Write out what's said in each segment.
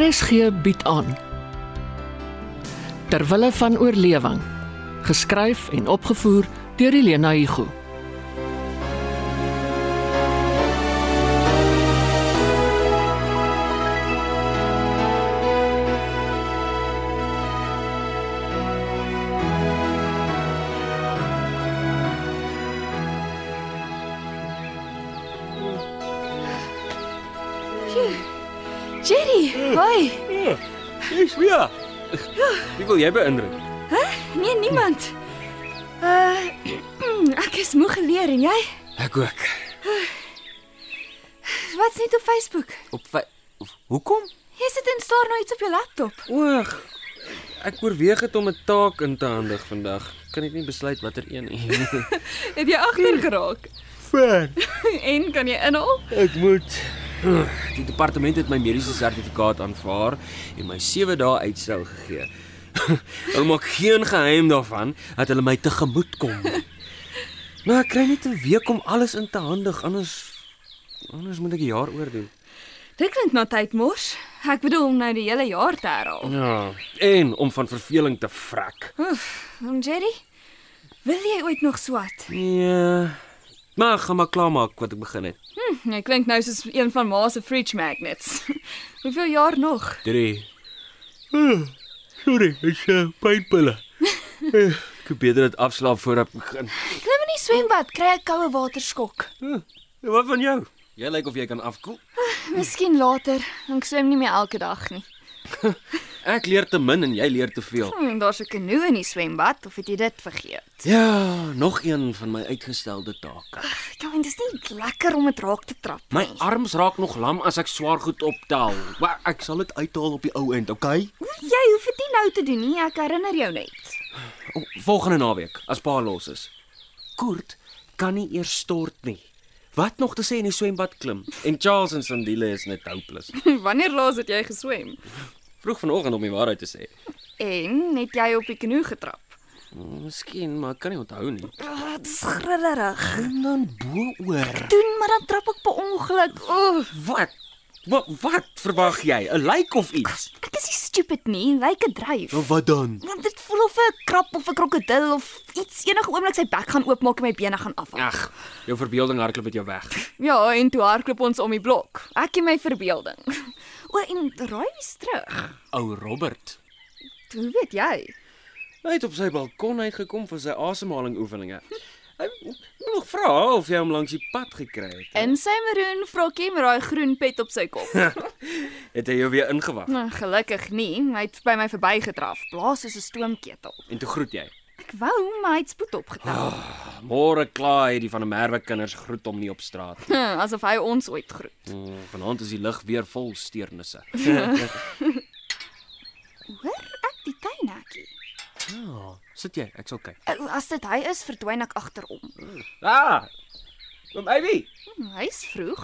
RSG bied aan Terwille van oorlewing geskryf en opgevoer deur Elena Igu Jerry, hoi. Jy's weer. Wie wil jy beïndruk? Nee, niemand. Uh ek is moeg geleer en jy? Ek ook. Wat's net op Facebook? Op vy... Hoekom? Jy sit en staar na iets op jou laptop. Oeg. Ek oorweeg dit om 'n taak in te handig vandag. Kan ek nie besluit watter een nie. Het jy agter geraak? Ver. En kan jy inhaal? Ek moet Die departement het my mediese sertifikaat aanvaar en my 7 dae uitstel gegee. Hulle maak geen geheim daarvan dat hulle my tegemoet kom. Maar ek kry net 'n week om alles in te handig, anders anders moet ek 'n jaar oordoen. Dit klink na tydmors. Ek bedoel om nou die hele jaar te herhaal. Ja, en om van verveling te vrek. Oef, en Hm, Jerry, wil jy ooit nog swat? Nee. Maar ek gaan maar klaarmaak wat ek begin het. Hm, jy klink nou soos een van ma se fridge magnets. Hoeveel jaar nog? 3. Ah, Sorry, ek's uh, pynpille. Eh. Ek het beter dit afslaap voor ek begin. Klim in die swembad, kry 'n koue waterskok. Wat van jou? Jy lyk of jy kan afkoel. Miskien later. Ek swem nie meer elke dag nie. Ek leer te min en jy leer te veel. Hm, Daar's 'n kanoe in die swembad, of het jy dit vergeet? Ja, nog een van my uitgestelde take. Ja, en dis nie lekker om dit raak te trap My nie. arms raak nog lam as ek swaar goed optel. Maar ek sal dit uithaal op die ou end, okay? Jy hoef dit nie nou te doen nie, ek herinner jou net. O, Volgende naweek as pa los is. Kurt kan nie eers stort nie. Wat nog te sê in die swembad klim? En Charles en Sandile is net hopeless. Wanneer laas het jy geswem? Vroeg vanoggend om die waarheid te sê. En het jy op die kanoe getrap? Miskien, maar ek kan nie onthou nie. Oh, dis grillerig. En dan bo-oor. Doen maar dan trap ek per ongeluk. Oef, Wat? Wat, wat verwag jy? 'n Lijk of iets? ek is nie stupid nie, lyk 'n dryf. Nou, Wat dan? Want dit voel of 'n krap of 'n krokodil of iets enige oomblik sy bek gaan oopmaak en my bene gaan afhaal. Ag, jou verbeelding hardloop met jou weg. Ja, en toe hardloop ons om die blok. Ek en my verbeelding. O, en raai wie's terug? Ou Robert. Hoe weet jy? Hy het op sy balkon uitgekom vir sy asemhaling oefeninge. Hy moet nog vra of jy hom langs die pad gekry het. In sy maroon vrokkie met daai groen pet op sy kop. Het hy jou weer ingewag Nou, gelukkig nie, hy het by my verbygedraf, blaas soos 'n stoomketel. Oh. en toe groet jy. Ek wou, maar hy het spoed opgetel, Môre klaar het die van die Merwe kinders groet hom nie op straat. nie. Hm, asof hy ons ooit groet. Mm, Vanaand is die lug weer vol steurnisse. Hoor ek die tuinhekkie? Ja, sit jy, ek sal kyk. Ou, Eh, As dit hy is, verdwyn ek agterom. Ah! Oom Abby. Hm, Hy's vroeg.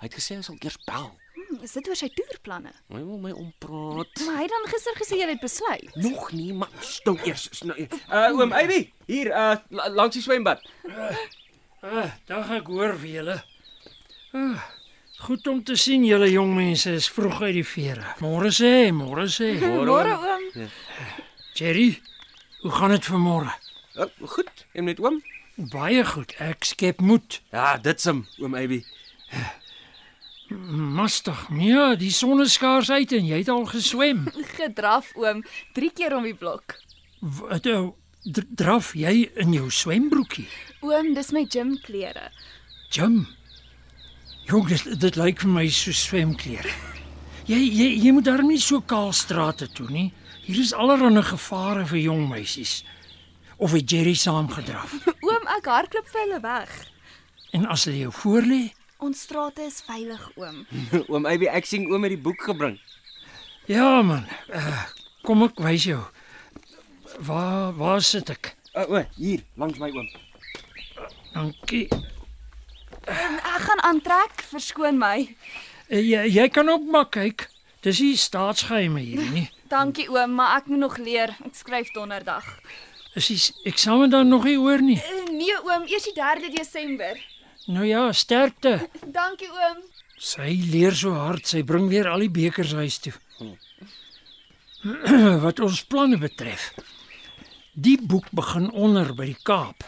Hy het gesê hy sal eers bel. Hm, Is dit oor sy toerplanne? Hy wil my ompraat. Maar hy het dan gister gesê jy het besluit. Nog nie, maar stil eers. snou- Uh oom Abby, hier uh la- langs die swembad. Ah, dag ek hoor vir julle. Ah, goed om te sien julle jong mense is vroeg uit die vere. Môre sê, môre sê. Môre oom. Jerry, hoe gaan dit vanmôre? Uh, goed, en met oom? Baie goed. Ek skep moed. Ja, dit's hom, oom Abby. Mastig. Ja, die son is skaars uit en jy het al geswem. Gedraf oom, 3 keer om die blok. Wat ou eh, dr- draf jy in jou swembroekie? Oom, dis my gymklere. Jim. Jong, dit, dit lyk vir my so swemklere. Jy jy jy moet darm nie so kaal strate toe nie. Hier is allerlei gevare vir jong meisies. Of het Jerry saamgedraf? Oom, ek hardloop vir hulle weg. En as hulle jou voorlê, Ons strate is veilig, oom. oom Abby, ek sien oom met die boek gebring. ja man, uh, kom ek wys jou. Waar waar sit ek? O, uh, o, hier, langs my oom. Dankie. Ek gaan aantrek, verskoon my. Uh, jy jy kan ook maar kyk. Dis nie staatsgeheime hier nie. Dankie oom, maar ek moet nog leer. Ek skryf donderdag. Is die s- eksamen dan nog nie oor nie? Eh, Nee oom, eers die 3de Desember. Nou ja, sterkte. Dankie oom. Sy leer so hard, sy bring weer al die bekers huis toe. Wat ons planne betref. Die boek begin onder by die Kaap.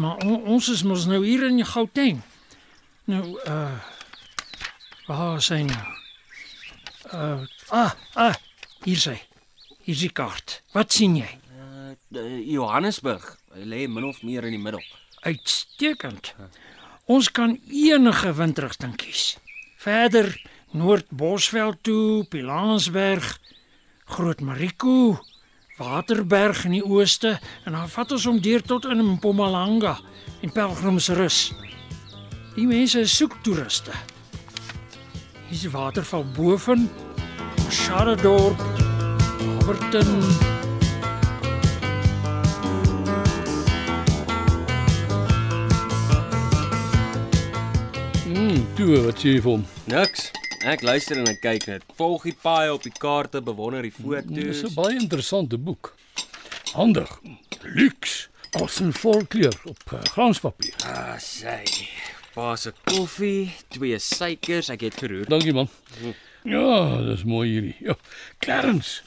Maar on, ons is mos nou hier in Gauteng. Nou uh waar is hy nou? Uh ah ah hier sy. Hier is die kaart. Wat sien jy? Uh, eh, Johannesburg Hy lê min of meer in die middel. Uitstekend. Ons kan enige windrigting kies. Verder Noord-Bosveld toe, Pilanesberg, Groot Mariko, Waterberg in die ooste en dan vat ons hom deur tot in Mpumalanga en Pelgrimsrus. Die mense soek toeriste. Hier is waterval boven Sharadorp, Alberton Hmm, toe, wat sê jy vir hom? Niks. Ek luister en ek kyk net. Volg die paai op die kaarte, bewonder die Dis foto's. 'n baie interessante boek. Handig, luks, as 'n volkleur op uh, glanspapier. Ah, sy. Pas 'n koffie, twee suikers, ek het geroer. Dankie man. Ja, dis mooi hierdie. Ja, Clarence.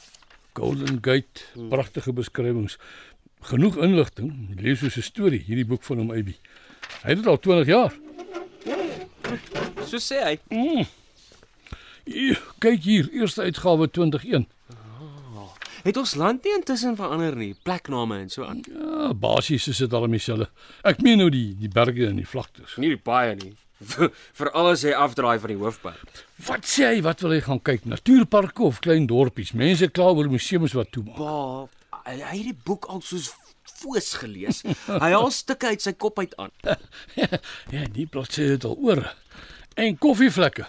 Golden Gate, pragtige beskrywings. Genoeg inligting. Lees soos 'n storie hierdie boek van hom Abby. Hy het dit al 20 jaar. So sê hy. Hier, Ja, Kyk hier, eerste uitgawe 2001. Het ons land nie intussen verander nie, plekname en so aan. Ja, basies is dit al dieselfde. Ek meen nou die die berge en die vlaktes. Nie die paai nie. Vir alles hy afdraai van die hoofpad. Wat sê hy, wat wil hy gaan kyk? Natuurparke of klein dorpies? Mense kla oor museums wat toemaak. Ba, hy hy het die boek al soos foos gelees. Hy haal stukke uit sy kop uit aan. Ja, die bladsye het al oor. En koffievlekke.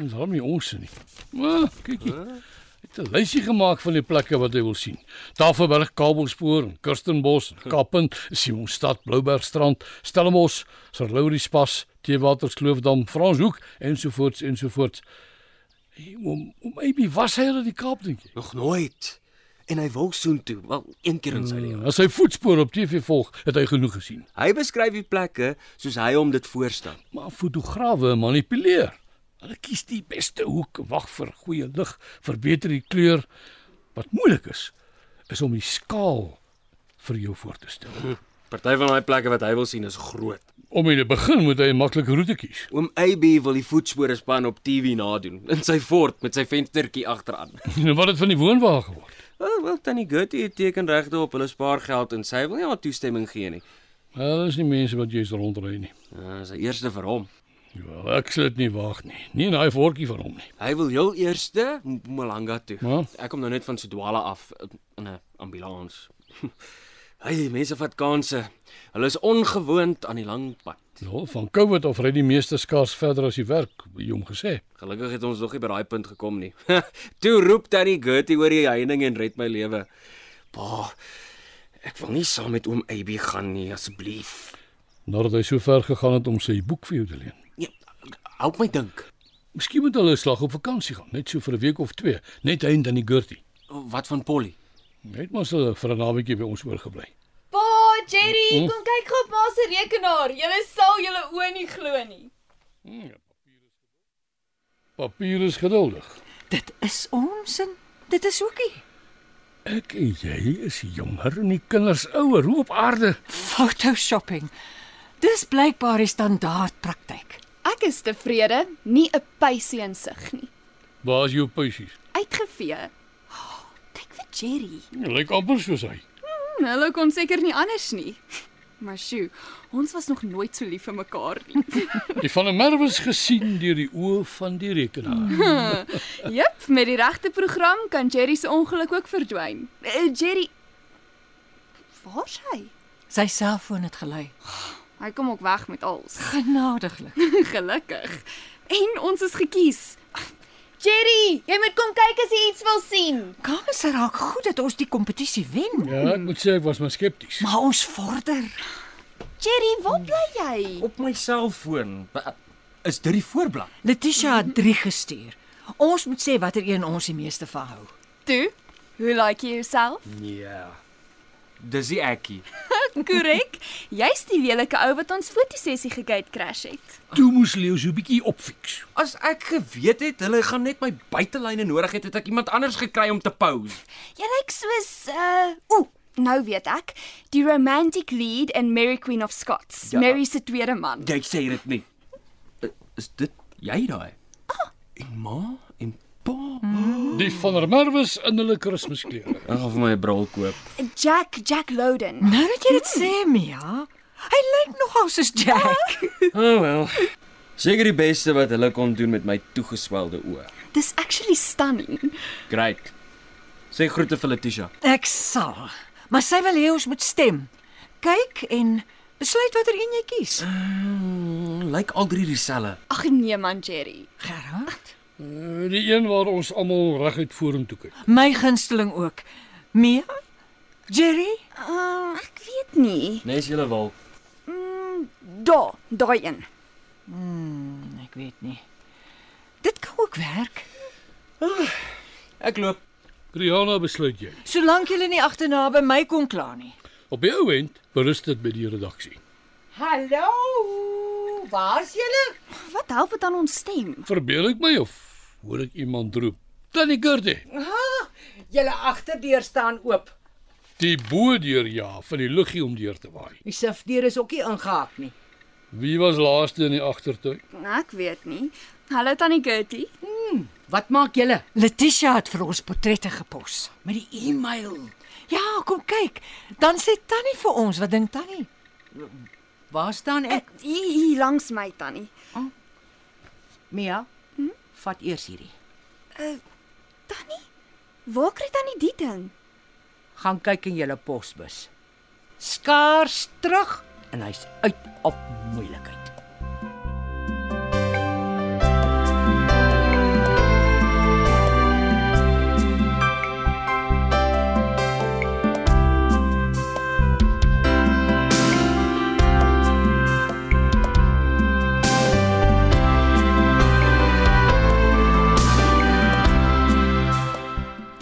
Ons hom nie ons nie. Maar kyk hier. Hy het 'n lysie gemaak van die plekke wat hy wil sien. Tafelberg, Kabelspoor, en Kirstenbos, en Kappen, Simonstad, Bloubergstrand, Stellenbosch, Sir Lauriespas, Teewaterskloofdam, Franshoek ensovoorts ensovoorts. Hey, Om om Abby was hy al in die Kaap dink jy? Nog nooit. En hy wil soontoe, wel een keer in sy lewe. As hy voetspore op TV volg, het hy genoeg gesien. Hmm. Hy beskryf die plekke soos hy hom dit voorstel. Maar fotograwe manipuleer. Hulle kies die beste hoek, wag vir goeie lig, verbeter die kleur. Wat moeilik is, is om die skaal vir jou voor te stel. Party van daai plekke wat hy wil sien is groot. Om in die begin moet hy 'n maklike roete kies. Oom AB wil die voetspore span op TV nadoen in sy Ford met sy venstertjie agteraan. En wat het van die woonwa geword? Wel, wel tannie Gertie het tekenregte op hulle spaargeld en sy wil nie haar toestemming gee nie. Wel, is nie mense wat jy's rondry nie. Uh, sy eerste vir hom. Ja, ek sal dit nie waag nie. Nie in daai vorkie van hom nie. Hy wil heel eerste Mpumalanga toe. Maar? Ek kom nou net van Sodwala af eh, in 'n ambulans. Hey, mense vat kansse. Hulle is ongewoond aan die lang pad. Ja, van COVID af ry die meeste skaars verder as die werk, jy hom gesê. Gelukkig het ons nog nie by daai punt gekom nie. toe roep tannie Gertie oor die heining en red my lewe. Pa, ek wil nie saam met oom AB gaan nie, asseblief. Nadat hy so ver gegaan het om sy boek vir jou te leen. Ja, help my dink. Miskien moet hulle 'n slag op vakansie gaan, net so vir 'n week of twee, net hy en dan die Gertie. Wat van Polly? Net maar so vir 'n naweekie by ons oorgebly. Pa, Jerry, kom kyk gou op ma se rekenaar. Jy sal julle oë nie glo nie. Papier is geduldig. Dit is ons en dit is ookie. Ek en jy is jonger en die kinders ouer. Hoe op aarde? Photo shopping. Dis blykbaar die standaard praktyk. Ek is tevrede, nie 'n pysie in sig nie. Waar is jou puisies? Uitgevee. Ah, Kyk vir Jerry. Jy lyk amper soos hy. Hm, hulle kon seker nie anders nie. Maar sjoe, ons was nog nooit so lief vir mekaar nie. Die van der Merwe is gesien deur die oë van die rekenaar. Jep, met die regte program kan Jerry se ongeluk ook verdwyn. Uh, Jerry Waar's hy? Sy selfoon het gelei. Hy kom ook weg met alles. Genadiglik. Gelukkig. En ons is gekies. Jerry, jy moet kom kyk as jy iets wil sien. Kamers raak goed dat ons die kompetisie wen, Ja, ek moet sê ek was maar skepties. maar ons vorder. Jerry, Hmm. waar bly jy? Op my selfoon. Is dit die voorblad? Letitia het 3 gestuur. Ons moet sê watter een ons die meeste van hou. Toe, hoe like jy jouself? Ja. Dis die ekkie. Korrek. Jy's die lelike ou wat ons fotosessie gegate crash het. Toe moes Leo so 'n bietjie opfiks. As ek geweet het hulle gaan net my buitelyne nodig het, het ek iemand anders gekry om te pose. Jy lyk soos uh ooh, nou weet ek, die romantic lead in Mary Queen of Scots, Ja. Mary se tweede man. Jy sê dit nie. Ah. I- Eh, Is dit jy daai? En ma en pa. Die van der Merwes in hulle Kersfeesklere. Ek gaan vir my 'n bril koop. Jack, Jack Loden. Nou dat jy dit sê, Mia, hy lyk nogal soos Jack. Oh wel. Seker die beste wat hulle kon doen met my toegeswelde oë. Dis actually stunning. Great. Sê groete vir Letitia. Ek sal. Maar sy wil hê ons moet stem. Kyk en besluit watter een jy kies. Mm, Lyk al drie dieselfde. Ag nee man, Jerry. Gerard, Eh, Die een waar ons almal reguit vorentoe kyk. my gunsteling ook. Mia, Jerry, Uh, ek weet nie. Nes Nee, julle wil. Da, daai een. Nee, ek weet nie. Dit kan ook werk, Ek loop. Kriana besluit jy. solank jy nie agterna by my kom kla nie. Op die ou end berus dit by die redaksie. Hallo. Waar's julle? Wat help dit aan ons stem? Verbeel ek my of hoor ek iemand roep? Tannie Gertie. Julle agterdeur staan oop. Die boodeur ja van die luggie om deur te waai. Die sifdeur is ook nie ingehaak nie. Wie was laaste in die agtertuin? Nou, Ek weet nie. Hallo tannie Gertie. Wat maak julle Letitia het vir ons portrette gepos. met die e-mail? Ja, kom kyk. Dan sê Tannie vir ons, wat dink Tannie? Waar staan ek? Hier hier langs my tannie. Eh, Mia. Vat eers hierdie. Waar kry tannie die ding? Gaan kyk in julle posbus. Skaars terug en hy's uit op moeilikheid.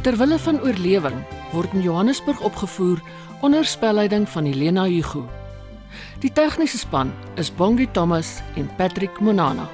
Terwille van oorlewing word in Johannesburg opgevoer onder spelleiding van Helena Hugo. Die tegniese span is Bongi Thomas en Patrick Monana.